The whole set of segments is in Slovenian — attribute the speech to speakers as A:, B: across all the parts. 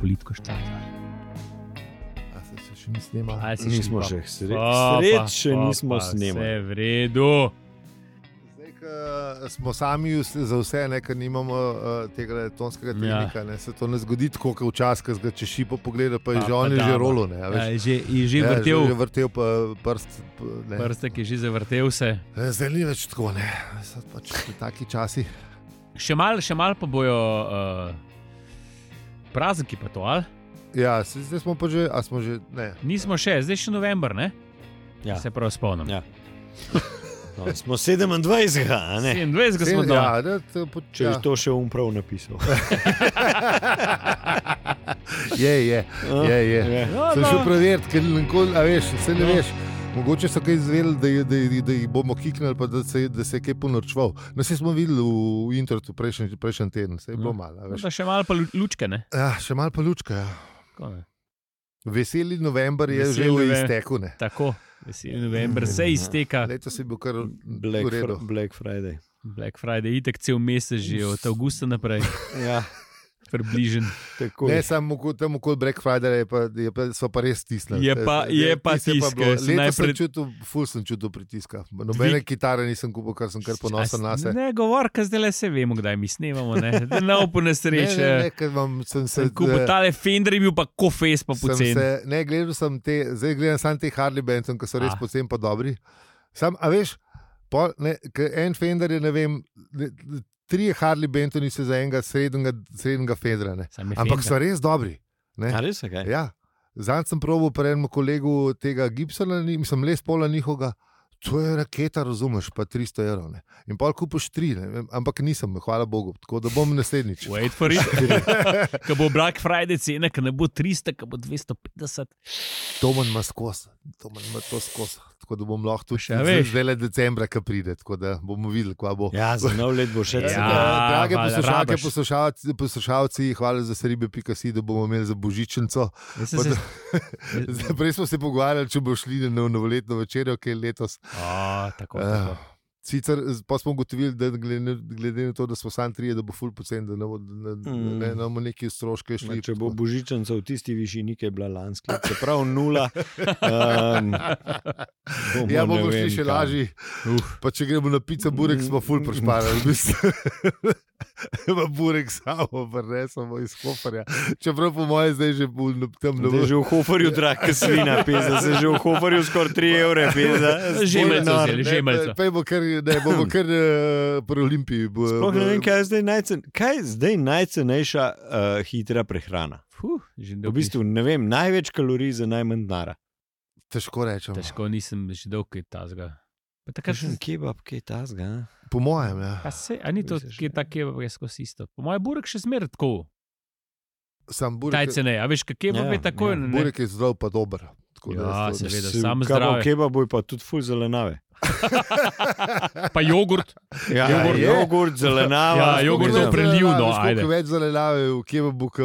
A: politiko štadion.
B: A se, se še ni snimal?
A: A, si šli,
C: Nismo
A: pa-
C: že sre
A: Pa, pa,
C: sreče,
A: pa,
C: nismo
A: pa,
C: snemali.
A: Vse v redu.
B: Zdaj, ko smo sami us- za vse, ne, ker nimamo uh, tega tonskega
A: Ja.
B: tehnika. Ja. Se to ne zgodi tako, kot včasih, ko če šipo pogleda, pa je
A: Pa-
B: že
A: pa
B: on je že
A: damo.
B: rolo. Ne, a veš.
A: Ja, Že, je že
B: Ja,
A: vrtel,
B: že vrtel pa prst. p- ne.
A: prstek je že zavrtel se.
B: Eh, Zdaj ni več tako, ne. Sad pač so taki časi.
A: Še malo mal pa bojo uh, prazniki, pa to ali.
B: Ja, se, zdaj smo pa že, a smo že, ne.
A: Nismo še, zdaj še november, ne?
C: Ja.
A: Se prav spomnim.
C: Ja. No, smo 27, a ne?
A: 27 smo
B: Sem-
A: doma.
B: ja, da, to, po,
C: Če
B: ja.
C: bi to še umprav napisal.
B: Je, je, je. je.
A: Ja,
B: Sem šel
A: no.
B: preveriti, ker nikoli, a veš, se ne
A: Ja.
B: veš. Mogoče so kaj izvedeli, da, je- da, je- da jih bomo kiknili, pa da se, da se je kaj ponorčval. No, se smo videli v internetu prejšnji, prejšnji teden, se je bilo
A: Ja.
B: malo. a
A: No,
B: veš.
A: da še malo pa lu- lučke, ne?
B: Ja, še malo pa lučka. Ja.
A: Tako, ne?
B: Veseli november je
A: Veseli
B: že v
A: nove-
B: izteku. ne.
A: Tako. veseli November se
C: Mm.
A: izteka,
B: Letos je bil kar
C: Black,
B: v redu.
C: fr Black Friday.
A: Black Friday, itek cel mesec, že od avgusta naprej,
C: Ja,
A: približen.
C: tako
B: Ne
C: je.
B: samo oko- tam okoli Black Friday, je pa, je pa, so pa res stisnili.
A: Je pa-
B: Eh,
A: je pa
B: tis
A: tisk,
B: bilo.
A: eh, sem
B: Letos sem
A: najprej-
B: čutil, ful sem čutil pritiska. Nobene kitare nisem kupil, ker sem kar ponosen na sebe.
A: Ne, govor, ker zdaj le se vemo, kdaj mi snemamo. Ne, Da ne bo nesreče.
B: ker vam sem se eh,
A: Kupil tale Fender je bil pa kofes, pa
B: sem
A: pocen.
B: se- Ne, gledal sem te, zdaj gledam samo te Harley Benson, ki so res
A: Ah.
B: pocen pa dobri. Sam, a veš, pol, ne, ke en Fender je, ne vem, ne, trije Harley Bentoni se za enega srednjega, srednjega Fendra. Ne.
A: Sam je
B: Ampak so
A: Fender.
B: res dobri. Ne.
C: A res je kaj?
B: Ja, Zanj sem probil pri enem kolegu tega Gibsona, ni- mislim, le spola njihovega. To je raketa, razumeš, pa 300 evrov. Ne. In pol kupiš tri, ne, vem, ampak nisem, hvala Bogu, tako da bom naslednjič.
A: Wait for it. Ko bo Black Friday cena, ko ne bo 300, ko bo 250.
B: Tomen ima skos, Tomen ima to skos. Tako da bom lahko tudi
A: Še
B: zdaj-
A: veš.
B: zdaj le decembra, ki pride, tako da bomo videli, kva bo.
C: Ja, za nov let bo še
A: Ja.
B: Tako
C: celo.
B: da, Drage
A: valjda,
B: poslušalke,
A: rabiš.
B: poslušalci, poslušalci, hvala za seribe.si, da bomo imeli za božičnico.
A: Jaz sem se-
B: Zdaj, Prej smo se pogovarjali, če bo šli na novoletno večerjo, ki je letos.
A: A, tako,
B: Eh,
A: tako.
B: Sicer z- pa smo ugotovili, da glede, glede na to, da smo sami trije, da bo ful pocen, da ne bo- da ne-
C: Mm.
B: ne bomo neki stroške šli.
C: Če bo
B: tako.
C: božičnica v tisti višini, ki je bila lanska, čeprav nula. Um, bomo,
B: Ja,
C: ne
B: bomo šli
C: vem
B: še
C: kam.
B: lažje. Uh. Če gremo na pico, burek smo
A: Mm.
B: ful prešparali. v bistvu. Pa burek samo prenesemo iz Hoferja. Čeprav po mojem zdaj že bolj na- tam
C: Da je
B: ne
C: že v Hoferju drag, kot svina, pizda, se že v Hoferju skoraj 3 evre, pizda.
A: No, Že
C: Sploh
A: malce
C: nor.
A: vzeli. že malce.
B: Pejmo kar, ne, bomo kar eh, pri Olimpiji. bo-
C: Sploh ne vem,
B: bo-
C: kaj je zdaj, najcen, kaj je zdaj najcenejša uh, hitra prehrana.
A: Fuh, že
C: V
A: dolgo nisem-
C: bistvu ne vem, največ kalorij za najmanj denara.
B: Težko rečem.
A: Težko nisem že dolgo kaj tazga. Takrat sem.
C: Kakšen kebab, kaj je tasga? a?
B: Po mojem, ja.
A: A, se, a ni to,
C: Misliš,
A: ki je
C: ne?
A: ta kebab, je skozi isto. Po mojem, burek še zmeraj tako.
B: Sam
A: Taj
B: burek,
A: cenej, a veš, kak kebab je
C: Ja,
A: tako.
C: ja.
A: ne?
B: burek je zdrav, pa dober. Tako da
A: Ja,
B: jaz to-
A: seveda,
C: Mislim,
A: samo
C: Kebab,
A: zdravje.
C: kebab je pa tudi ful zelenave.
A: Pa jogurt.
C: Ja,
B: jogurt.
C: jogurt, jogurt
A: Ja,
C: zelenava.
A: jogurt
B: Koliko
A: je
B: več
A: opre- prelivno,
B: zelenjave, veš,
A: ajde.
B: koliko Več zelenjave v kebabu, kot v.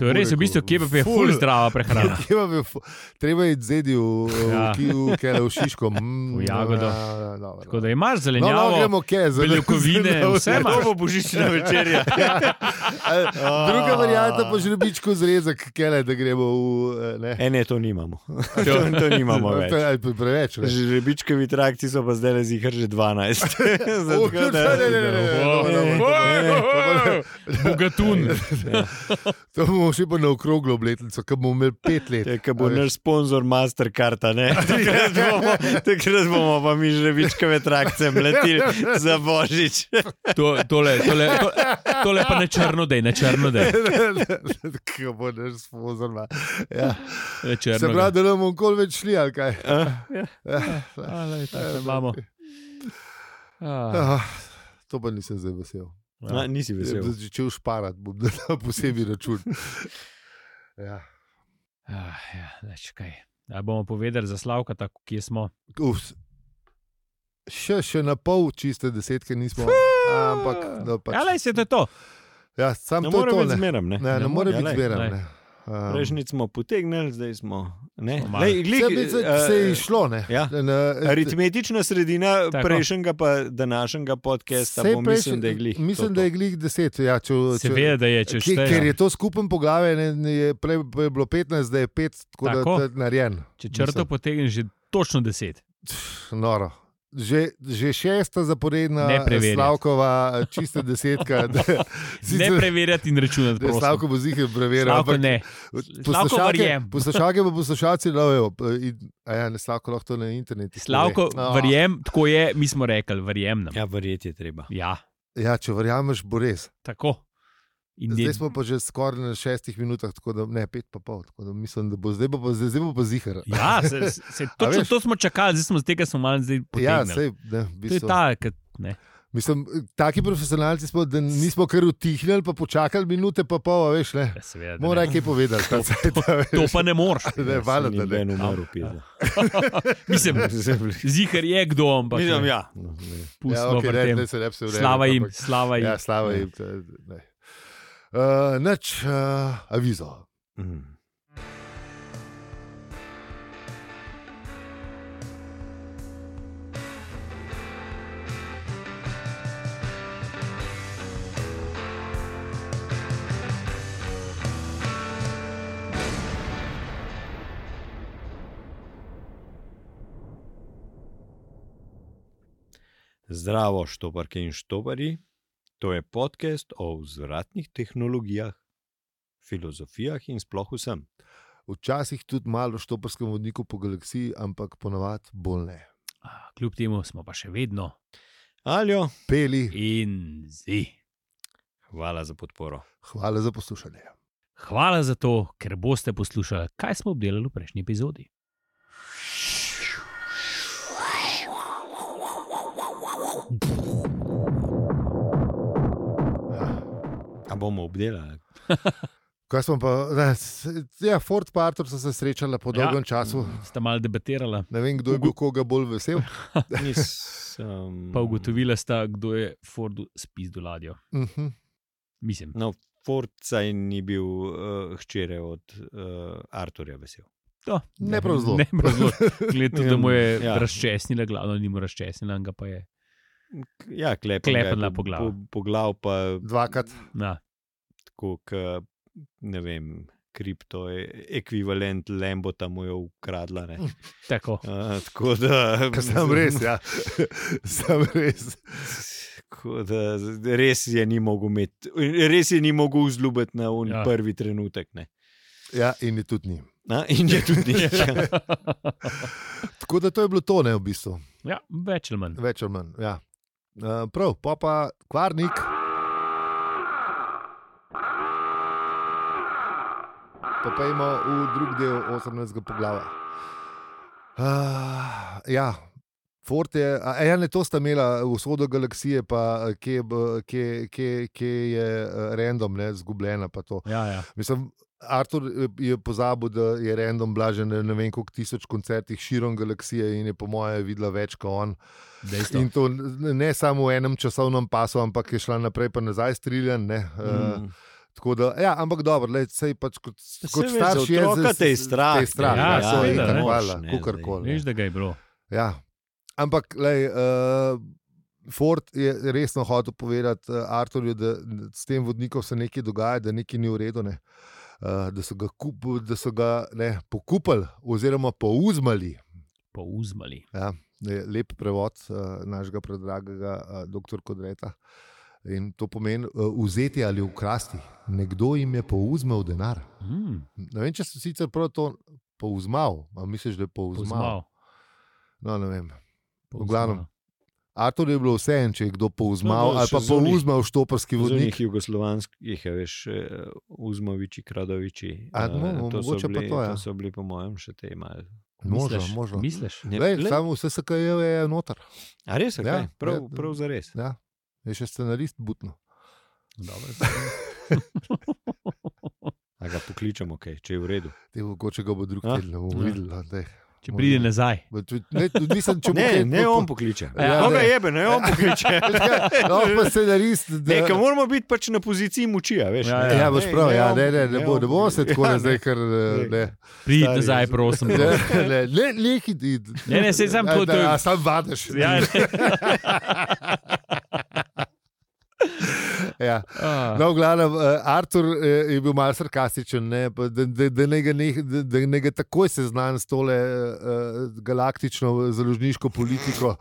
A: To je res, v
B: bureku.
A: bistvu, kebab je ful zdrava prehrana.
B: Kebab je fu- Treba je zedi v,
A: Ja.
B: ja. v, v, v Šiško. Mm,
A: V jagodo.
B: ja, dobro.
A: Tako da imaš
B: No,
A: zelenjavo.
B: no, gremo kje, za
A: beljakovine, vse ima.
C: To bo božična večerja.
B: Druga varianta pa žrebičko zrezek, kele, da gremo v. eh, Ne.
C: E, ne, to nimamo. to, to nimamo več.
B: To je ali pa preveč. ne.
C: Žrebičkovi trakti so pa zdaj le zihar že 12.
B: O, Oh,
C: Zato,
B: Ne, ne, ne, ne, ne,
A: Wow.
B: dobro, dobro.
A: Wow. Bogatun.
B: To bomo še pa na okroglo obletnico, ki bomo imeli pet let.
C: Te, ki bo
B: A veš.
C: naš sponzor Mastercard, a ne? takrat bomo, takrat bomo pa mi žrebičkove trakce mletili za božič.
A: To, tole, tole, tole, tole pa ne črno dej, ne črno dej.
B: Ki bo naš sponzor. ma. Ja.
A: Ne
B: Se
A: črno
B: pravi,
A: dej.
B: da ne bomo nikoli več šli, ali
A: Eh?
B: kaj. Eh,
A: Ja. A, lej, takle imamo. A,
B: Ah, To pa nisem zdaj vesel.
C: Na, nisi vesel.
B: Zdaj, Če ušparati, bom dal posebej račun. Ja.
A: a, ja, lej, čakaj. A bomo povedali za Slavka, tako, kje smo.
B: Uf, še, še na pol čiste desetke nismo. Ampak, no, pač,
A: Ja, lej, se to je to.
B: ja, sam
C: Ne
B: to je
C: morem
B: to.
C: več
B: Ne,
C: zmeram, ne?
B: ne, ne
A: Ne
B: more
C: more,
B: biti
C: ja, glej,
B: zbirano.
A: glej.
B: Um,
C: Prejšnji smo potegnili, zdaj smo. ne.
A: Smo malo.
C: Lej, glik,
B: se, se, se je
C: eh,
B: išlo, ne?
C: ja.
B: Na,
C: Aritmetična sredina
A: Tako.
C: Tako. prejšnjega pa današnjega podcasta,
B: saj
C: bo,
B: prejš-
C: mislim, da je glih.
B: Mislim,
C: to,
B: da je glih 10. Ja, če, če,
A: Seveda da je, če
B: ki, ker je
A: šteješ.
B: to skupen poglavje, ne, ne, je prej je bilo 15, zdaj je 5, tako,
A: Tako.
B: tako. da je narejen.
A: Če črto
B: Mislim,
A: potegneš, že točno deset.
B: pff, Noro. Že, že šesta zaporedna
A: Ne preverjati.
B: Slavkova, čiste desetka. da-
A: Ne
B: sicer-
A: preverjati in računati.
B: da je Slavko bo zihar preverjal.
A: Slavko
B: ampak
A: ne. Slavko
B: Poslušalke,
A: verjem.
B: poslušalke pa poslušalci lovijo. in- a Ja, ne, Slavko lahko to na internetu.
A: Slavko,
B: pove. No.
A: verjem, tako je, mi smo rekli, verjem nam.
C: Ja, verjeti je treba.
A: Ja,
B: Ja, če verjameš, bo res.
A: tako. In je,
B: Zdaj smo pa že skoraj na šestih minutah, tako da ne, pet pa pol. Tako da mislim, da bo zdaj bo pa, zdaj, zdaj bo pa zihar.
A: ja, se, se,
B: A
A: točno
B: veš?
A: to smo čakali, zdaj smo zdaj, ker smo malo zdaj
B: Ja,
A: potegnili.
B: sej, ne, v
A: to je
B: bistvu,
A: ta, ki ne.
B: mislim, taki profesionalci smo, da nismo kar utihnili, pa počakali minute, pa pol, a veš, ne.
A: Ja, seveda, ne.
B: Mora kaj povedati. ta cajt, a veš.
A: To pa ne moreš.
B: Ne, valjda, da ne. Ja,
C: ne umrl, pisa.
A: Mislim, zihar je kdo, ampak
C: Mislim,
A: ne,
C: ja. No, ne.
A: pustimo
B: okej,
A: pri
B: ne,
A: tem.
B: ne, se ne bi se urejal,
A: Slava jim,
B: ampak-
A: slava jim.
B: Ja, slava jim. to je- ne. Uh, Nač, uh, avizo.
C: Mhm. Zdravo, štoparke in štoparji. To je podcast o vzvratnih tehnologijah, filozofijah in sploh vsem.
B: Včasih tudi malo štoparskem vodniku po galaksiji, ampak ponavadi bolj ne.
A: A, Kljub temu smo pa še vedno
C: Aljo,
B: Peli,
A: in zi.
C: hvala za podporo.
B: hvala za poslušanje.
A: Hvala za to, ker boste poslušali, kaj smo obdelali v prejšnji epizodi.
C: A bomo obdelali?
B: Kaj smo pa, ne, s- ja, Ford in Arthur so se srečala po
A: Ja.
B: dolgem ja. času.
A: Sta malo debatirala,
B: Ne vem, kdo je bil koga bolj vesel.
C: Nisem.
A: pa ugotovila sta, kdo je Fordu spis do ladjo.
B: Uh -huh.
A: Mislim,
C: No, Forca ni bil uh, hčere od uh, Arturja vesel.
A: to,
B: Ne prav zelo.
A: Ne prav zelo. Glede, tudi, da mu je ja.
C: Ja.
A: razčesnila, glavno ni mu razčesnila, ga pa je.
C: K- Ja, klepam ga je
A: Klepala po glavi.
C: Po, po glav pa
B: Dvakrat.
A: Na,
C: tako, k, ne vem, kripto, e- ekvivalent Lembota mu je ukradla. Ne?
A: tako.
C: Uh, tako da.
B: Ker sem res, ja. sem res.
C: Tako Da, z- res je ni mogel imeti, res je ni mogel vzljubiti na un
A: Ja.
C: ja. prvi trenutek. Ne?
B: Ja, in je tudi njim.
C: Na, in je tudi nekaj.
B: Tako da to je bilo to, ne v bistvu,
A: Ja, več ali manj.
B: več ali manj. Ja. Uh, prav, pa pa kvarnik. Pa pojmo v drug del 18. poglavja. Uh, ja, Fort je, a ja, ne to sta imela, vzhodo galaksije, pa eh, kje, bo- kje, kje, kje je eh, random, ne, zgubljena pa to.
A: Ja, ja.
B: Mislim, Artur eh, je pozabil, da je random blažen na ne vem koliko tisoč koncertih širom galaksije in je, po mojem, videla več kot on.
A: Dejstvo.
B: In to ne ne samo v enem časovnem pasu, ampak je šla naprej in nazaj streljen. Mm.
C: Mm.
B: Tako da, ja, ampak dobro, le, sej pač kot,
C: Saj
B: kot
C: veš, za
B: starš je
C: otroka te je strah,
B: Te strah,
A: ne,
B: ja,
A: ja,
B: ja,
A: seveda,
B: ja,
A: ne.
B: hvala,
C: Moraš, ne,
B: kukorkoli.
A: Veš, da ga je bilo.
B: Ja. Ampak, lej, uh, Ford je resno hotel povedati uh, Arturju, da da s tem vodnikom se nekaj dogaja, da nekaj ni v redu. Ne? Uh, da so ga, kup, da so ga ne, pokupili, oziroma pouzmali,
A: Pouzmali.
B: je lep prevod uh, našega predragega uh, doktor Kodreta. In to pomeni uh, vzeti ali ukrasti. Nekdo jim je pouzmal denar.
A: Mm,
B: Ne vem, če so sicer prav to pouzmal, ali misliš, da je pouzmal.
A: pouzmal.
B: No, ne vem.
A: Pouzmal.
B: glavnem. Artur je bilo vse en, če je kdo
C: No,
B: pouzmal
C: no,
B: ali pa
C: še zunih.
B: pouzmal štoparski vodnik.
C: Zunjih jugoslovanskih, ja, veš, eh, Uzmoviči, Kradoviči.
B: A,
C: eh,
B: no,
C: to so
B: mogoče pa
C: bili-
B: to, ja.
C: To so bili, po mojem, še te malo.
B: Možno,
C: Misliš?
B: možno.
A: Misliš?
C: Ne,
B: Lej,
C: glej,
B: samo vse SKJ E je noter,
C: A res,
B: Ja,
C: okay, prav,
B: ja.
C: prav za res.
B: ja. je še scenarist butno.
A: Dobro.
C: A ga pokličemo, okay, če je v redu.
B: Te mogoče ga bo drug
C: A?
B: teden, ne bomo
C: Ah,
A: Ja.
B: videli. a, daj.
A: Če pride nazaj.
B: Ne, nisem, če bo
C: Ne,
B: kaj-
C: ne on pokliče.
B: Ja,
C: Ja, Koga
B: ne.
C: jebe, ne on pokliče.
B: Ja, Lahko pa scenarist. da-
C: Ne, ker moramo biti pač na poziciji moči, a veš.
A: Ja,
C: ne.
A: ja.
B: Ja, boš
C: Ne,
B: prav, ja,
C: on
B: ne, ne,
C: pokliče,
B: ne, bo, ne bomo se
C: on
B: tako
C: pokliče.
B: ja, zdaj, ker
C: Ne.
B: eh, ne.
A: Pridi
B: Stari,
A: nazaj,
B: jaz-
A: prosim. Ja,
B: Ne, ne, ne, ne, hiti.
A: Ne, ne, saj samo
B: Ja,
A: to-
B: da,
A: to je-
B: a, Sam vadiš.
A: Ja, ne.
B: Ja.
A: Ah.
B: No, v glavnem, eh, Artur eh, je bil malo sarkastičen, ne, pa da, da, da, ne ga ne, da, da ne ga takoj seznam s tole eh, galaktično založniško politiko,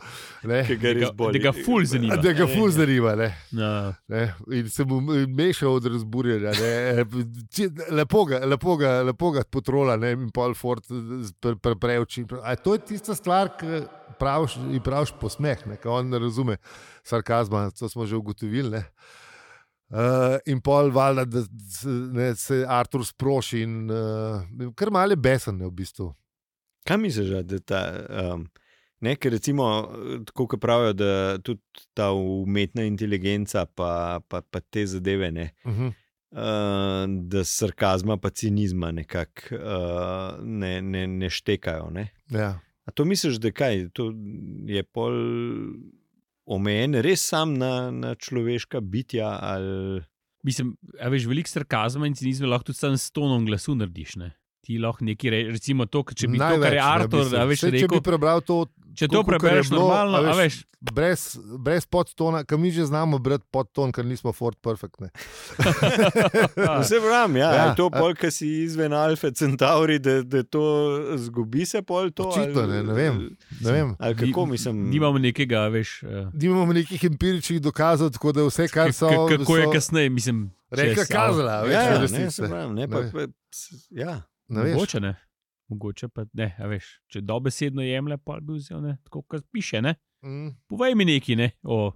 C: Ki
B: ne,
C: ga res
A: Da ga-
C: boli.
A: Da ga ful zanima.
B: da ga fuz zanima. Ne,
A: No.
B: ne, in se mu meša od razburjenja. ne, eh, če- Lepo ga, lepo ga, lepo ga potrola ne, in pol Ford z- pre- pre- preuči. A To je tista stvar, ki praviš, ji praviš posmeh, ne, ker on ne razume sarkazma, to smo že ugotovili. Ne. Uh, in pol, valjda, da s- ne, se Artur sproši, in uh, kar malo je besen, ne, v bistvu.
C: Kaj misliš, a da ta. Um, Ne, ker recimo, eh, tako kot pravijo, da tudi ta umetna inteligenca, pa, pa, pa te zadeve, ne,
B: Uh
A: Mhm.
B: -huh.
C: uh, da sarkazma, pa cinizma nekako uh, ne, ne, ne štekajo. Ne?
B: ja.
C: A to misliš, da kaj, to je pol omejen, res sam na, na človeška bitja? Ali...
A: Mislim, a veš, veliko sarkazma in cinizma lahko tudi sam s tonom glasu narediš. Ne? Ti lahko nekaj rečeš, recimo to, kar- če bi to, kar je
B: ne, v
A: Artur,
B: bistvu.
A: a veš,
B: Saj, če
A: rekel,
B: bi prebral to
A: če to
B: tako, kakor je
A: prebereš
B: bilo,
A: normalno,
B: a
A: a
B: veš,
A: veš,
B: brez, brez podtona, ki mi že znamo brati podton, ker nismo Ford Perfect. Ne.
A: a,
C: Vse vram, ja, ja,
B: Ja,
C: je to
B: a-
C: pol, ki si izven Alfa Centauri, da, da to zgubi se pol to.
B: Očitno, ne, ne vem. Ne vem.
C: Ali kako mislim?
A: nimamo nekega, a veš. eh,
B: Nimamo nekih empiričnih dokazov, tako da vse, kar so.
A: k- k- Kako je
B: so-
A: kasneje, mislim.
B: Reka
A: čez-
B: kazala,
C: Ja,
B: več
C: ja, ne,
B: resnice.
C: se pravim, ne, pa,
B: Ne.
C: pa, s- ja.
B: Ne veš.
A: Mogoče ne. Mogoče pa ne, a veš. Če dobesedno jemlje, pa bi vzel ne, tako, kot piše. Ne?
B: Mm.
A: Povej mi nekaj ne, o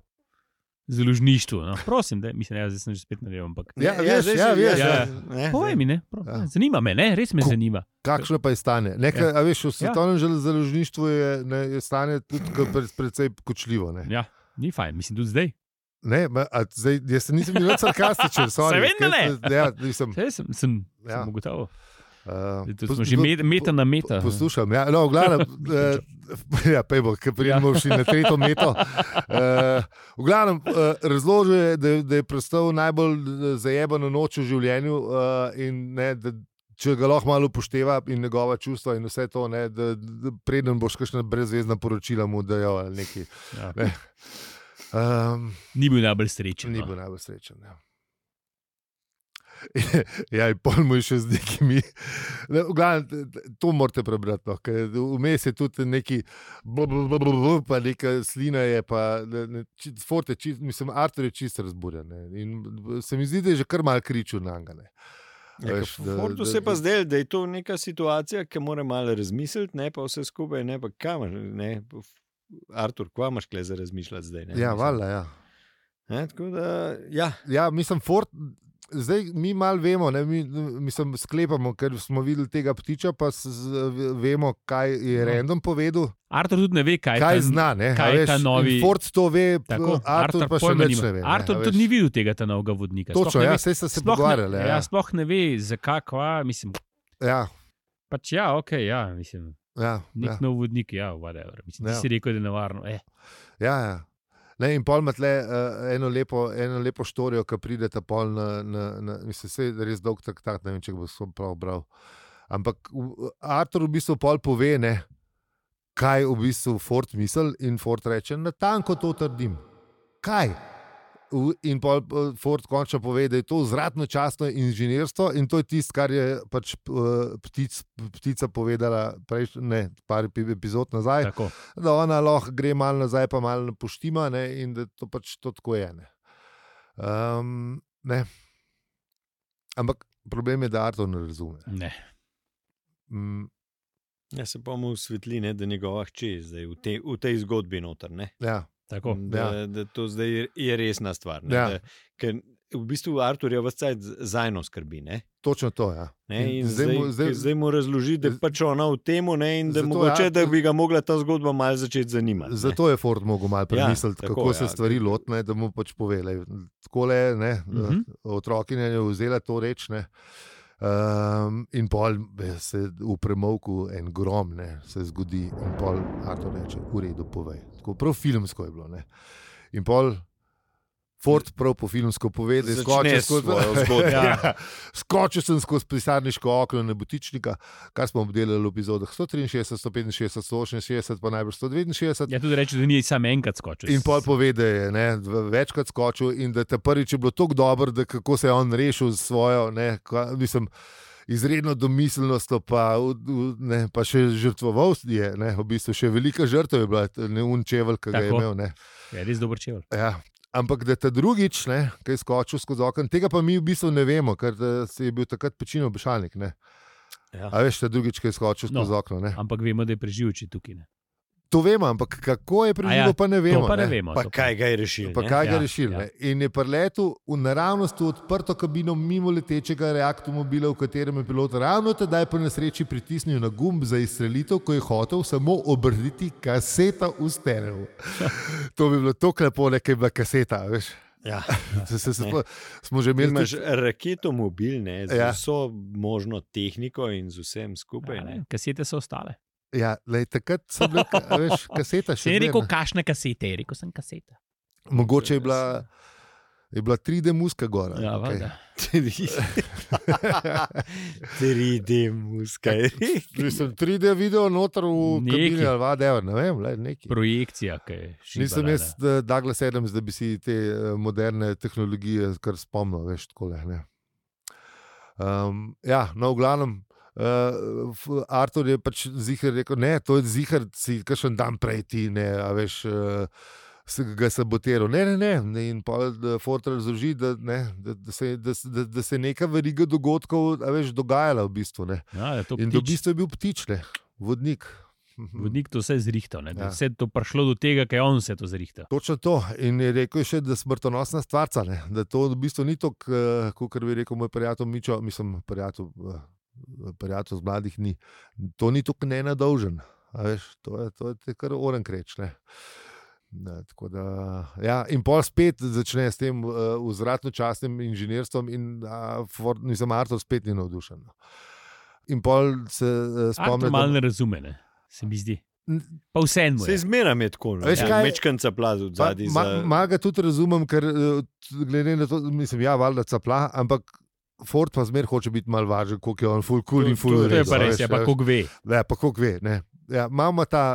A: založništvu. No. Prosim, da, mislim, ja, zdaj sem že spet na levo, ampak.
B: Ja, veš,
C: zdaj
B: ja,
C: se-
B: veš,
A: ja.
C: ne,
A: Povej
C: ne.
A: mi, ne, pro,
B: Ja.
A: zanima me, ne, res me
B: Ko-
A: zanima.
B: Kakšno pa je stanje? Nekaj, ja. veš, v svetovnem ja. založništvu je, ne, je stanje tudi kar pre- precej kočljivo. Ne?
A: Ja, ni fajn, mislim, tudi zdaj.
B: Ne, ma, a, zdaj, jaz se nisem bil nič sarkastičen, sorry,
A: Seveda ne.
B: ker- Ja, nisem,
A: Saj sem, sem, ja.
B: Ja.
A: sem ugotovil.
B: uh,
A: Da Smo že met, meta na meta.
B: Poslušam, ja, no, glavno, ja, pejbo, ki pridemo še na tretjo meto. Uh, v glavnem, uh, razložil je, da, da je prestal najbolj eh, zajebano noč v življenju uh, in ne, da, če ga lahko malo upošteva in njegova čustva in vse to, ne, da, da preden boš kakšna brezvezna poročila mu dajo ali nekaj.
A: Ja.
B: Ne. Um,
A: Ni bil najbolj srečen.
B: Ni
A: no.
B: bil najbolj srečen. Ja. Ja, in pol mu je še z nekimi. Ne, v glavnem, t- t- to morate prebrati. No, ker Vmes je tudi neki, bl- bl- bl- bl- bl- pa neka slina je, pa ne- ne, či- Ford je čist, mislim, Artur je čist razburjen. ne. In b- se mi zdi, da je že kar mal kričil na njega.
C: Ja, ker Fordu se pa zdel, da je to neka situacija, ki mora malo razmisliti, ne pa vse skupaj, ne pa kamor, ne. Artur, kva imaš kle za razmišljati zdaj? Ne,
B: Ja,
C: Mislim,
B: valjda, ja.
C: Ne, tako da, ja,
B: ja, mislim, Ford, zdaj mi malo vemo, ne, mi mislim, sklepamo, ker smo videli tega ptiča, pa s, z, vemo, kaj je
A: No.
B: Rendom povedal.
A: Artur tudi ne ve, kaj,
B: kaj
A: ta-
B: zna. Ne?
A: kaj
B: a
A: je ta
B: veš,
A: novi-
B: in Ford to ve,
A: Tako,
B: Artur pa še
A: pojma
B: več
A: nima.
B: ne ve. ne, a
A: Artur
B: veš.
A: tudi ni videl tega ta novega vodnika. sploh
B: Točno,
A: ne
B: ja,
A: ve-
B: sej ste se
A: sploh ne-
B: pogovarjali.
A: Ja.
B: Ja,
A: sploh ne ve, zakaj, kva, mislim.
B: ja,
A: Pač ja, ok, ja, mislim.
B: ja,
A: Nek
B: ja,
A: ja. nov vodnik, ja, whatever. Mislim, ja.
B: Ja.
A: Ti si rekel, da je nevarno. Eh.
B: ja, ja. Ne, in pol ima tle uh, eno, lepo, eno lepo štorijo, ki pride ta pol na, na, na mislim, se res dolg traktat, ne vem, če ga bom prav bral. Ampak v- Artur v bistvu pol pove, ne, kaj v bistvu Ford misli in Ford reče, na tanko to trdim. Kaj? V- In pol eh, Ford končno pove, da je to vzratno časno inženirstvo in to je tisto, kar je pač eh, ptic, ptica povedala prejšnji, ne, par epi- epizod nazaj,
A: Tako.
B: da ona lahko gre malo nazaj, pa malo na poštima ne, in da to pač to tako je. Ne. Um, ne. Ampak problem je, da Arto ne razume.
A: Ne.
B: Mm,
C: ja se pa mu osvetli, ne, da njegova hči je zdaj v, te, v tej zgodbi noter. Ne.
B: ja,
A: Tako.
C: Da, da to zdaj je resna stvar. Ne,
B: Ja.
C: da, ker v bistvu Artur je vse cajt zajno skrbi. Ne.
B: točno to. Ja. In
C: Ne, in
B: zdaj
C: zdaj,
B: mu-
C: zdaj,
B: zdaj-
C: zdaj, zdaj mu razloži, da je pač ona v tem, ne, in da,
B: Zato,
C: mogoče,
B: ja.
C: da bi ga mogla ta zgodba malo začeti zanimati. ne.
B: Zato je Ford mogel malo premisliti,
C: Ja,
B: ja,
C: tako,
B: kako tako, se
C: ja,
B: ja, stvari
C: ker-
B: lotne, da mu pač povele. Tako le, ne,
A: Mhm.
B: otrokinja je vzela to reč. Ne. Um, in pol eh, se v premovku en grom ne, se zgodi, in pol Artur reče: V redu, povej. Tako prav filmsko je bilo. Ne. In pol Ford prav po filmsko pove, da je skočil
C: Začne svojo zgodbo.
B: ja. Skočil sem skozi pisarniško okno nebotičnika, kar smo obdelali v epizodah 163, 165, 168, pa najbrž 169.
A: Ja, tudi reče, da ni samo enkrat skočil.
B: In pol pove, da je ne, v- večkrat skočil in da te prvič je bilo tako dobro, da kako se je on rešil s svojo, ne, kva- mislim, izredno domiselnostjo, pa, v- v- ne, pa še žrtvoval je, ne, v bistvu še velika žrtev je bila, t- ne unčeval, ki ga je
A: Tako.
B: imel. Ne.
A: Je res dober čevelj.
B: Ja. Ampak da ta drugič, ne, ki je skočil skozi okno, tega pa mi v bistvu ne vemo, ker da, se je bil takrat pečeno obešalnik. Ne.
C: Ja.
B: A veš, ta drugič, ki je skočil
A: No.
B: skozi no. okno. Ne.
A: Ampak vemo, da je preživel, če tukaj ne.
B: To vemo, ampak
A: A
B: kako je
A: ja,
B: prišlo, ja, pa ne vemo.
A: to pa ne, vemo.
C: Pa
A: to
C: kaj ga je rešil?
B: Pa
C: ne?
B: kaj ga
A: Ja,
B: ja, rešili.
A: ja.
B: Ja. In je preletel v naravnost v odprto kabino mimo letečega reaktomobila, v katerem je pilot ravno tedaj po nesreči pritisnil na gumb za izstrelitev, ko je hotel samo obrniti kaseta v stereo. to bi bilo tako lepo, nekaj bila kaseta. Veš.
C: Ja.
B: Se, se, se,
C: Ne.
B: spomnim, smo že imeli
C: Imaš
B: tudi-
C: raketo mobil, ne,
B: Ja.
C: z ja. vso možno tehniko in z vsem skupaj.
A: Ja,
C: ne.
A: ne, kasete so ostale.
B: Ja, lej, takrat sem bil, veš, kaseta
A: Še
B: Ja, še.
A: ne rekel,
B: zmerno.
A: kašne kasete, je rekel sem kasete.
B: Mogoče je bila, je bila 3D muska gora.
A: Ja,
B: okej.
A: valjda.
C: 3D muska. je rekel.
B: Mislim, 3D video noter v
A: Neki.
B: kabini ali vadeva, ne vem, le nekaj.
A: Projekcija, ki je šla.
B: Nisem jaz, da- Douglas Adams, da bi si te eh, moderne tehnologije kar spomnil, veš, tako le. Um, ja, no, v glavnem. Uh, Artur je pač zihar rekel, ne, to je zihar, si kakšen dan prej ti, ne, a veš. Uh, Ga sabotiral. Ne, ne, ne, ne. In pa Fortnite razloži, da, ne, da, da, se, da, se- da, da se je neka veriga dogodkov a veš, dogajala v bistvu. Ne.
A: Ja, da je to
B: In da v
A: ptič,
B: bistvu je bil ptič, ne, vodnik. Mhm.
A: vodnik to vse zrihtal, ne, da
B: Ja.
A: je vse to prišlo do tega, kaj je on vse to zrihtal.
B: Točno to. In je rekel še, da je smrtonosna stvarca, ne? da to v bistvu ni to, kot bi rekel moj prijatelj Mičo, mislim, prijatelj, eh, prijatelj z mladih ni. To ni tako nenadolžen. a Veš, to je, to je te kar oren kreč. Ne? Ne, tako da, ja, in pol spet začne s tem uh, vzratno-časnim inženirstvom, in uh, Ford, nisem Artur spet ni navdušen. no. In pol se uh,
A: Spomnim,
B: spomnim.
A: malo ne razume, ne, se mi zdi. Pa vseeno.
C: Se
A: je.
C: zmeram je tako,
B: Veš
C: da
B: kaj?
C: mečkanca plaz od zadaj.
B: Malo ma ga tudi razumem, ker eh, t- glede na to, mislim, ja, valjda capla, ampak Ford pa zmer hoče biti malo važen, koliko je on, full cool in
C: To-
B: full
A: To
C: to
A: je
C: je
B: res.
A: pa res, je pa kog ve.
B: Ja, pa koliko ve. Ne. Ja, imamo ta,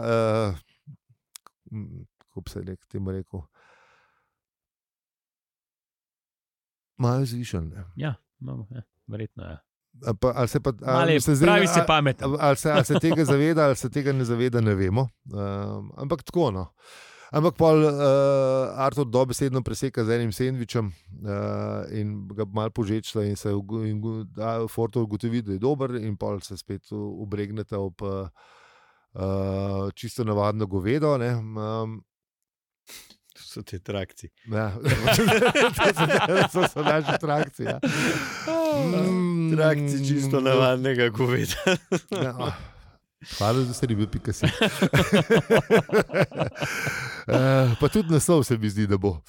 B: uh, kako bi se je temu rekel, malo zvišen. ne.
A: Ja, imamo, ja, verjetno je. Ja.
B: A Pa, ali se pa, ali
A: Male,
B: se zdaj-
A: pravi se
B: a-
A: pameten.
B: Ali- Ali se, ali se tega zaveda, ali se tega ne zaveda, ne vemo. Um, ampak tako. No. Ampak pol uh, Artur dobesedno preseka z enim sendvičem uh, in ga malo požečla, in se ugo- in ugo- da Forto ugotovi, da je dober, in pol se spet u- obregneta ob uh, uh, čisto navadno govedo. Ne, um,
C: To so te trakci.
B: ja. to, so, to so naše trakcije. Ja. Mm,
C: Trakci čisto navadnega goveda.
B: Ja. Hvala za vse ribe, pika si. Eh, pa tudi naslov se mi zdi, da bo.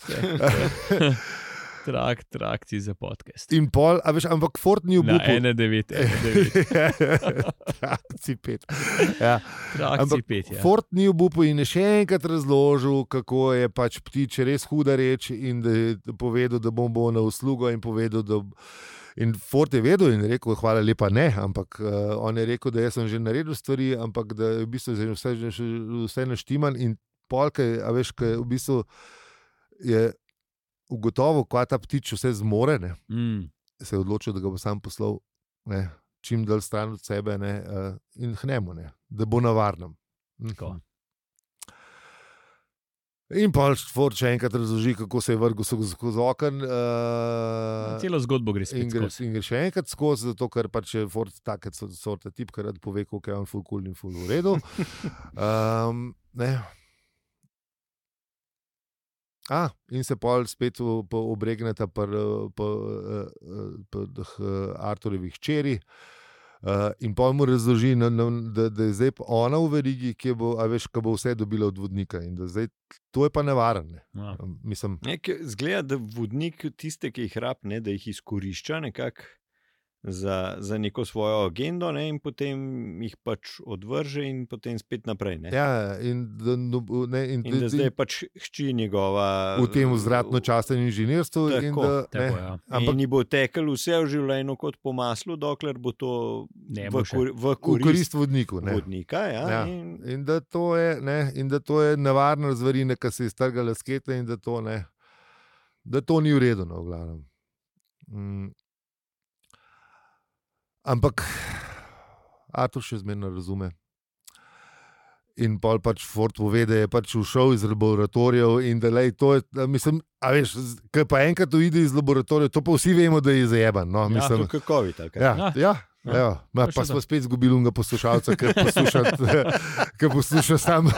A: Trak, trakci za podcast.
B: In pol, a veš, ampak Ford ni
A: Na
B: obup.
A: 1,9, 1,9,
B: Trakci pet. Ja.
A: trakci
B: Ampak
A: 5. Ja.
B: Ford ni obup in je še enkrat razložil, kako je pač ptič res huda reč in da je povedal, da bom bo na uslugo in povedal, da. In Ford je vedel in je rekel, hvala lepa, ne, ampak uh, on je rekel, da jaz sem že naredil stvari, ampak da je v bistvu že vse, že vse naštiman in polke, a veš, kaj v bistvu je ugotovil, kva ta ptič vse zmore, ne,
A: Mm,
B: se je odločil, da ga bo sam poslal ne, čim dalj stran od sebe ne, eh, in hnemo, ne, da bo na varnem. Mhm.
A: tako.
B: In pa Ford še enkrat razloži, kako se je vrgel skozi skozi oken. Uh,
A: Celo zgodbo gre
B: In
A: spet.
B: gre,
A: skozi.
B: in gre še enkrat skozi, zato ker pač je Ford tako sorta tip, ki rad pove, kako je on full cool in full v redu. Um, ne. A, in se pol spet v- po- obregneta pri eh, Arturjevih čeri. Uh, in pa mu razloži, na, na, da, da je zdaj pa ona v verigi, ki bo, a veš, ki bo vse dobila od vodnika. In da Zdaj, to je pa nevarno. Ne.
A: Ja.
B: Um, Mislim,
C: Nek, zgleda, da vodnik tiste, ki jih rab, ne, da jih izkorišča nekako. za, za neko svojo agendo, ne, in potem jih pač odvrže, in potem spet naprej. Ne.
B: Ja, in, da no- ne, in,
C: In da zdaj je pač hči njegova.
B: v tem vzratno-častnem inženirstvu. in
C: Tako,
B: da, ne,
A: Tako, ja.
C: Ampak
B: ampak-
C: ni bo tekel vse v življenju kot po maslu, dokler bo to
A: Ne
C: v,
A: bo še.
C: kor, v
B: v
C: korist
B: korist vodniku. ne.
C: vodnika. Ja,
B: Ja.
C: ja. In,
B: In da to je, ne, in da to je nevarna zverina, ki se je strgala skete, in da to, ne, da to ni urejeno, v glavnem. Mm. Ampak Artur še zmerno razume. In pol pač Ford pove, da je pač ušel iz laboratorijev in da lej, to je to. Mislim, a veš, ki pa enkrat uide iz laboratorijev, to pa vsi vemo, da je zajeban. No?
A: Ja,
B: Mislim,
C: to kakovit. ali kaj?
A: Ja.
B: Ja, ja.
C: Ja.
B: Ja, ja,
A: To
B: pa
A: še
B: smo
A: da.
B: spet izgubili unega poslušalca, ki posluša, ki posluša sam,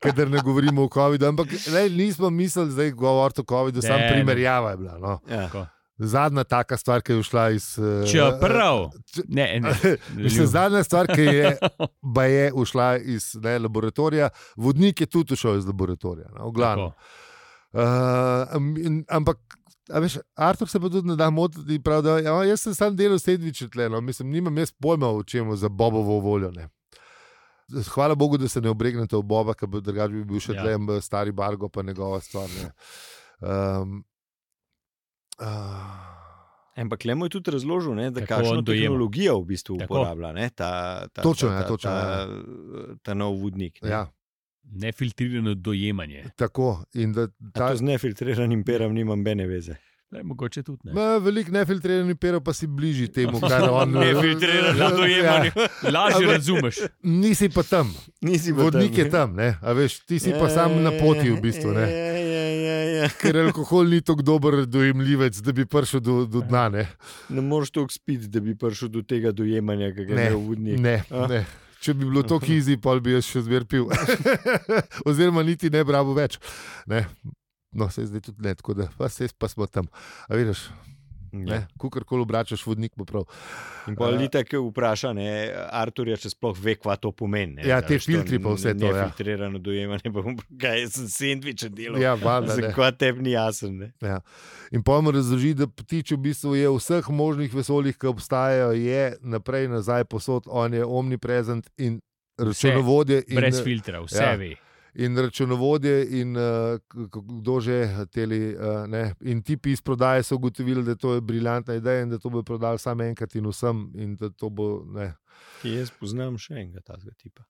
B: kadar ne govorimo o COVID-u. Ampak ne, nismo mislili, da je govor o
A: Ne,
B: COVID-u, samo
A: ne.
B: primerjava je bila. No.
C: Ja.
B: Zadnja taka stvar, ki je šla iz. eh,
A: Čeprav.
B: če-
A: Ne, ne.
B: Mislim, zadnja stvar, ki je, ba je ušla iz ne, laboratorija, vodnik je tudi ušel iz laboratorija, no, v glavnem. Uh, ampak, a veš, Artur se pa tudi ne da motiti. in pravi, da, Ja, jaz sem sam delal sedviče tleno, no, mislim, nimam jaz pojma o čem za Bobovo voljo. Ne. Hvala Bogu, da se ne obregnete v Boba, ker bi drugače bi bil
A: Ja.
B: še ja. tlem stari Bargo, pa njegova stvar. ne. Um, uh,
C: Ampak le mu je tudi razložil, ne, da
A: Kako
C: kakšno
A: on dojema.
C: tehnologijo v bistvu
A: Tako.
C: uporablja. Ne, ta, ta,
B: Točno,
C: ta,
B: ja,
C: ta,
B: točno,
C: ta,
B: ja.
C: ta nov vodnik. Ne.
B: ja,
A: Nefiltrirano dojemanje.
B: tako. In da
C: E, A
B: ta,
C: To z nefiltriranim perom nimam bene veze.
A: Ne, mogoče tudi ne.
B: Ma, Veliko nefiltriranih perov pa si bližji temu, kar on eh,
C: Nefiltrirano dojemanje.
B: Ja,
A: Lažje
B: Ampak-
A: razumeš.
B: nisi pa tam,
C: Nisi pa
B: vodnik
C: tam,
B: je tam, ne? a veš, ti si pa sam na poti v bistvu. Ne?
C: Ja, ja, ja, ja.
B: ker alkohol ni tako dober dojemljivec, da bi prišel do, do dna. Ne,
C: Ne moreš toliko spiti, da bi prišel do tega dojemanja, ki ga
B: Ne,
C: je imel vodnik.
B: ne, ne. Če bi bilo to kizi, pa bi jaz še zmer pil. Oziroma, niti ne bravo več. Ne. No, se zdaj tudi ne, tako da pa, se, pa smo tam. A vidiš,
C: Ja.
B: ja. kukorkoli obračaš, vodnik bo prav.
C: In pa
B: Eh.
C: ali tako vpraša, ne, Artur je, če sploh ve, kva to pomeni. Ne,
B: Ja,
C: A
B: te
C: veš, to
B: filtri pa vse to, ja.
C: Nefiltrirano dojemanje, pa bom- kaj jaz sem sendviče delal.
B: Ja, valjda, ne.
C: Zakaj tebi ni jasno? Ne?
B: In pojmo razloži, da ptič v bistvu je v vseh možnih vesoljih, ki obstajajo, je naprej, nazaj, posod, on je omniprezent in računovodje. in-
A: Brez filtra, vse
B: ja.
A: ja. ve.
B: in računovodje, in uh, k- k- kdo že teli. Uh, ne. in tipi iz prodaje so ugotovili, da to je briljantna ideja in da to bo prodal samo enkrat in vsem. In da to bo, ne.
C: Ki jaz poznam še enega takega tipa.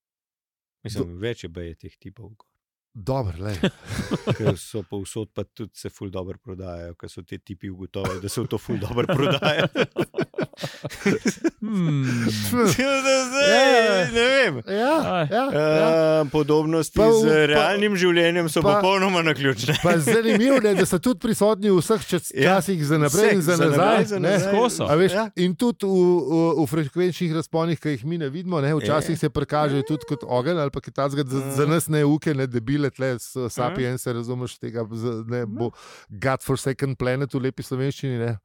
C: Mislim, Do... več je baje teh tipov,
B: Dobro, lej.
C: ki so povsod, pa tudi se ful dobro prodajajo, ker so ti tipi ugotovili, da se v to ful dobro prodaja.
A: Hmm.
C: Zdaj, Ja, ne vem.
B: ja, ja, ja.
C: Uh, podobnosti
B: Pa
C: ja. pa,
B: v-
C: z
B: pa-
C: realnim življenjem so
B: pa-
C: pa, popolnoma na ključne.
B: Pa zanimivo je, da so tudi prisotni v vseh čas-
C: Ja.
B: časih, za naprej in za nazaj. ne.
A: Skozi so.
B: A Veš, ja. In tudi v, v, v frekvenčnih razponih, ki jih mi ne vidimo, ne, včasih
C: Ja.
B: se prikažejo tudi kot ogenj ali pa kaj takega, za, za nas ne uke, ne debile, tle s- sapien se razumeš tega, z- ne bo God for Second Planet v lepi slovenščini. Ne.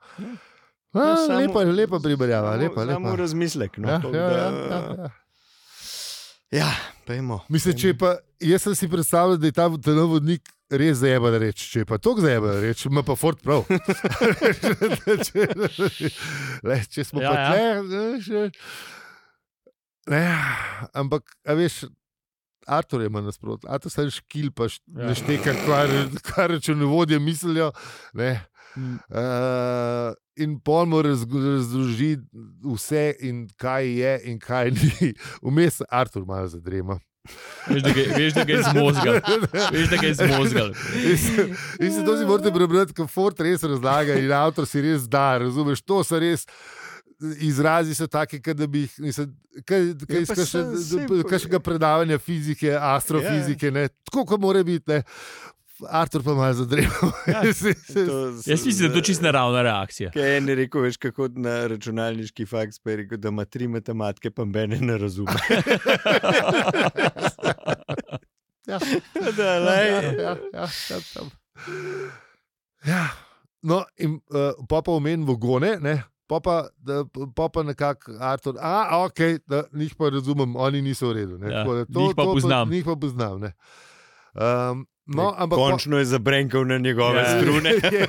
C: No,
B: A,
C: samo-
B: lepa, lepa primerjava,
C: samo-
B: lepa.
C: Samo
B: lepa.
C: razmislek. No,
B: Ja,
C: toliko,
B: ja, ja,
C: da-
B: ja, ja.
C: ja, pojmo.
B: Mislim, če je pa, jaz sem si predstavljal, da je ta telovodnik res zajeben reč. Če je pa to zajeben reč, ima pa Ford prav. če, le, če smo
A: Ja,
B: ja, pa
A: ja.
B: tle, ne, še, ne, ampak, a veš. Artur ima nasprotno, a to se že škil, pa
A: Ja.
B: nešteka, kar, kar računovodje mislijo. Ne.
A: Mm.
B: Uh, in polno razloži vse, in kaj je, in kaj ni. Vmes Artur malo zadrema.
A: Veš, da ga, je- veš, da ga je zmozgal. Veš, da ga je zmozgal.
B: In se to si morate prebrati, kot Ford res razlaga in avtor si res da, razumeš, to so res. Izrazi so taki, kot da bi jih, mislim, kaj- kaj
C: Ja,
B: iz
C: pa Ja.
B: kakšne-
C: saj- saj-
B: d- kakšnega predavanja fizike, astrofizike, ne, tako kot mora biti. Ne. Artur pa malo zadreval.
A: Ja,
B: Se- se-
A: Jaz mislim, da je to čisto naravna reakcija.
C: Kaj je ne rekel, veš, kako na računalniški faks, pa je rekel, da ima tri matematike, pa mene ne razume.
B: Ja.
C: da,
B: ja,
C: lej,
B: ja, ja, tam, tam. ja. No, in uh, pa pa omenim vogone, ne. Pa pa, da, pa, pa nekako, Artur, a, ok, da njih pa razumem, oni niso v redu. ne.
A: Ja,
B: Tako da
A: njih pa poznam.
B: Pa, njih pa poznam. ne. Um, no, ampak
C: Končno je zabrenkal na njegove
A: Ja.
C: strune.
B: je,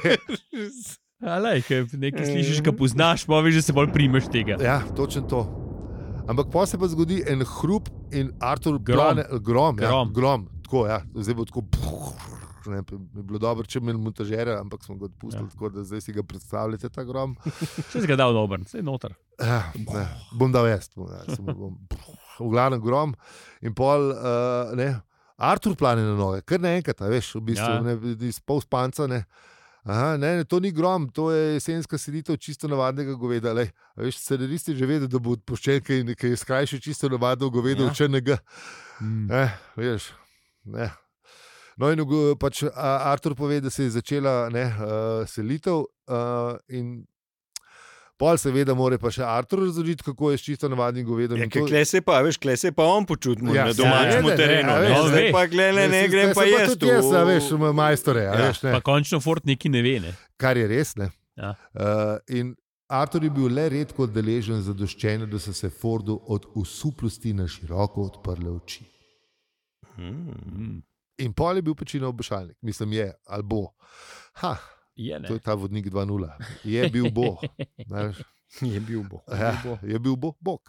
A: Alej, nekaj slišiš, ki poznaš, pa veš, da se bolj primeš tega.
B: Ja, točno to. Ampak pa se pa zgodi en hrup in Artur
A: Grom.
B: plane, grom, grom.
A: Grom.
B: Ja, grom tako, ja. Zdaj bo tako. Ne, bi bilo dobro, če bi imeli montažere, ampak smo ga odpustili,
A: Ja.
B: ja. tako da zdaj si ga predstavljate, ta grom.
A: Če si ga dal dober, se je noter.
B: Ja, ne, bom dal jaz, bom, ja, samo bom, v glavnem grom. In pol, uh, ne, Artur plane na noge, kar naenkrat, a veš, v bistvu,
A: Ja.
B: ja. ne, iz pol spanca. Ne. Aha, ne, ne, to ni grom, to je jesenska selitev čisto navadnega goveda. Lej, a veš, scenaristi že vedo, da bo odpuščen, ker je- ker je skrajšal čisto navadno govedo,
C: Ja.
B: ja. če ne ga.
A: Mm.
B: Eh, veš, ne. No, in ugo- pač a, Artur pove, da se je začela ne, uh, selitev. Uh, in pol, seveda, mora pa še Artur razložiti, kako je s čisto navadnim govedom.
C: Ja,
B: In
C: ker
B: to-
C: kle se pa, veš, kle se pa on počuti
B: Ja,
C: ja, na
B: se
C: domačem
A: zaveda, ne,
C: ja, terenu.
B: a
C: Ne,
B: veš,
C: ne,
A: zdaj-
C: zdaj pa gle, ne,
B: Ne,
C: ne
B: se-
C: grem
B: se
C: pa jaz tu.
B: Tudi jaz, a veš, ima majstore. a
A: Ja,
B: veš, ne.
A: pa končno Fort neki ne ve. Ne.
B: kar je res. Ne?
A: Ja.
B: Uh, in Artur je bil le redko deležen zadoščenja, da so se Fordu od usuplosti na široko odprle oči.
C: Hmm.
A: Mm.
B: In pol je bil pečino obešalnik, mislim, je ali bo. Ha,
A: Je, ne.
B: to je ta vodnik 2.0, je bil bo. a veš.
C: Je bil bo.
B: Ja, je bil bo, Bog.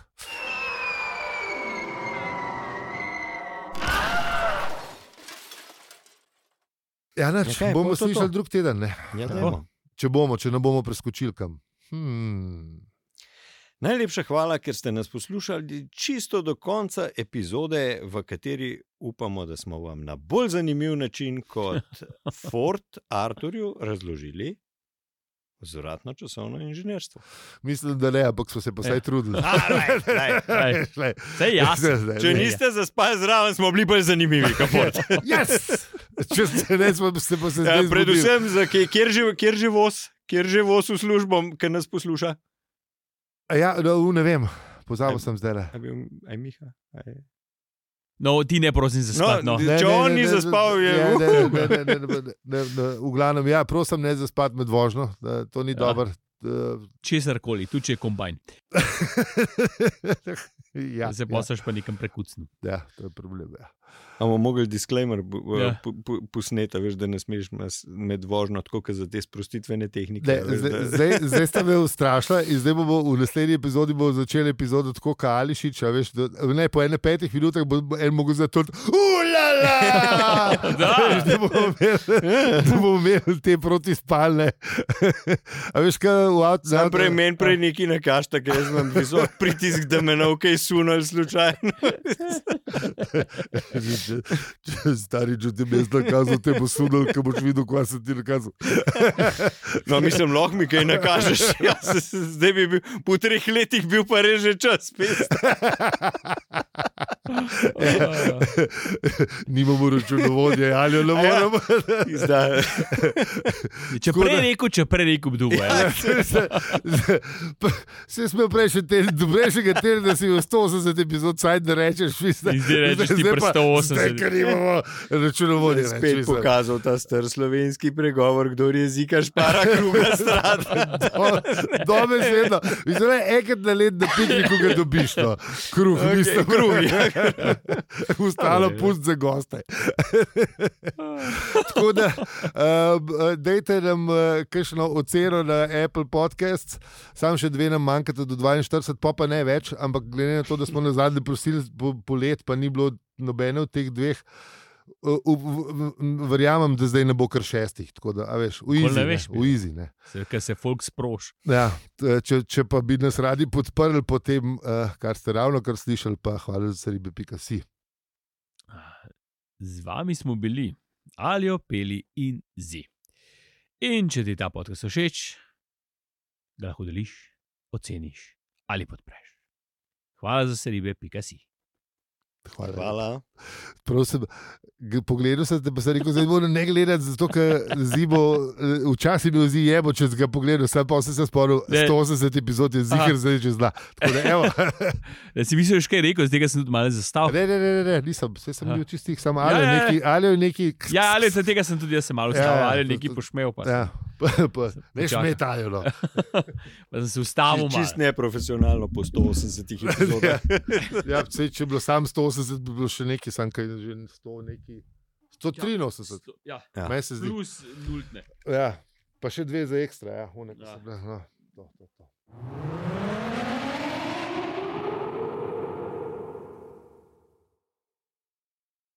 B: Ja, nač,
C: Ja, kaj,
B: okay, bomo
C: pol to
B: slišali
C: to.
B: drug teden, ne?
C: Ja,
A: Tako.
C: dajmo.
B: če bomo, če ne bomo preskočili kam. Hmm.
C: Najlepša hvala, ker ste nas poslušali čisto do konca epizode, v kateri upamo, da smo vam na bolj zanimiv način kot Fort Arthurju razložili vzvratno časovno inženirstvo.
B: Mislim, da ne, ampak smo se pa vsaj
C: Ja.
B: trudili.
C: A, lej, lej,
A: lej.
B: Veš, lej.
A: Saj je jasno.
B: Zdaj,
C: Če
B: ne.
C: niste zaspali zraven, smo bili bolj zanimivi, kot Fort.
B: Yes! Če ste ne, smo se pa se
C: Ja,
B: zdaj zbudili.
C: predvsem, za kje- kjer živ- kjer že voz, kjer že voz v službo, ki nas posluša.
B: A Ja, no, ne vem,
C: Em.
B: pozabil sem zdaj. le.
C: A bil- a je Miha? A je-
A: No, ti ne prosim za
C: No,
A: spat. No,
C: d- Če on ni zaspal, je-
B: ja, ne, ne, ne, ne, ne, ne, ne, ne, V glavnem, ja, prosim, ne zaspati med vožnjo, da to ni
A: Ja.
B: ja. dobro.
A: Česar koli, tudi če je kombajn.
B: Eh,
A: Ja,
B: ja,
A: se
B: ja,
A: posaš ja. pa nekam prekucno.
B: ja, to je problem. Ja.
C: A bomo mogli disclaimer bo-
A: Ja.
C: po- po- posneti, a veš, da ne smeš mas- med vožnjo, tako kot za te sprostitvene tehnike.
B: Ne,
C: a veš,
B: zdaj,
C: da-
B: zdaj, zdaj ste me ustrašili in zdaj bomo v naslednji epizodi bomo začeli epizodo tako kot Ališič. a Veš, da, ne, po enem petih minutah bo bo en mogel zato, ulala!
A: Da.
B: Veš, da bomo imeli- da bomo imeli te protispalne. A veš, kaj v avtu
C: Sam prej meni prej neki nakaš, tako jaz imam visok pritisk, da me naukaj sunal slučajno.
B: Stari, če ti bi jaz nakazal, te bo sudil, ker boš videl, kaj sem ti nakazal.
C: No, mislim, lahko mi kaj nakažeš. Ja, se, se, zdaj bi bil, po treh letih bil pa reže čas. Pes.
A: Ja.
B: Nimamo računovodje, ali ne
C: Ja.
B: moremo.
C: Zdaj,
A: Če
B: Tako da-
A: prej rekel, če prej rekel, kdo bo. Ja.
B: Vse smo prejšnji teden, do prejšnjega tedna si v 180 epizod saj da rečeš, vi ste.
A: In zdaj rečeš ti pri 180.
B: Zdaj, ker imamo računovodje.
C: spet pokazal ta star slovenski pregovor, kdo jezika špara, kruga strada.
B: Dobro, vedno. Zdaj, enkrat na let na pikniku ga dobiš, no. kruh, okay, mislim,
C: kruh, ja.
B: Ustalo
C: Dobro, ja.
B: pust za goste. Tako da, um, dajte nam uh, kakšno oceno na Apple Podcasts, sam še dve nam manjkata do 42, pa, pa ne več, ampak glede na to, da smo na zadnji prosili po, po let, pa ni bilo nobene od teh dveh. uh, v- v- v- Verjamem, da zdaj ne bo kar šestih, tako da a veš, v
A: Nikoli
B: izi,
A: ne
B: ne,
A: veš,
B: v izi. Ne.
A: Se, ker se folk sproš.
B: Ja, t- če, če pa bi nas radi podprli po tem, uh, kar ste ravno kar slišali, pa hvala za ribe.si.
A: Z vami smo bili, alijo, peli in zi. In če ti ta podcast všeč, ga lahko deliš, oceniš ali podpreš. Hvala za seribe, pika si.
B: Hvala.
C: Hvala.
B: Prosim, g- pogledal sem te, pa sem rekel, zdaj moram ne gledati, zato ker zimo, eh, včasih mi vzi jebo, če sem ga pogledal, sam pa sem se spomnil,
A: Ne.
B: 180 epizod je
A: Aha.
B: zihar, zdaj že zna. Tako da, evo.
A: Da si misliš, kaj rekel, zdaj sem tudi malo zastavil.
B: Ne, ne, ne, ne, ne nisem, vse sem
A: Aha.
B: bil čistih, samo
A: Ja,
B: ali
A: ja, ja.
B: neki, ali neki.
A: Ja, ali zaradi tega sem tudi jaz se malo
B: Ja,
A: ustavil,
B: ja,
A: ali
B: to-
A: neki
B: to-
A: pošmev. Pa,
B: Ja, pa, pa, ne
A: Počaka.
B: šmetajo. No.
A: pa sem se ustavil. malo.
C: Čist neprofesionalno po 180 epizodah.
B: Ja, saj, če bi bilo sam 180, bi bilo še nekaj, sam kaj že 100, neki. 183,
A: Ja,
C: Ja.
B: meni se zdi.
A: plus nultne.
B: Ja. Pa še dve za ekstra, ja, unek.
A: Ja.
B: Ja. No, to, to, to.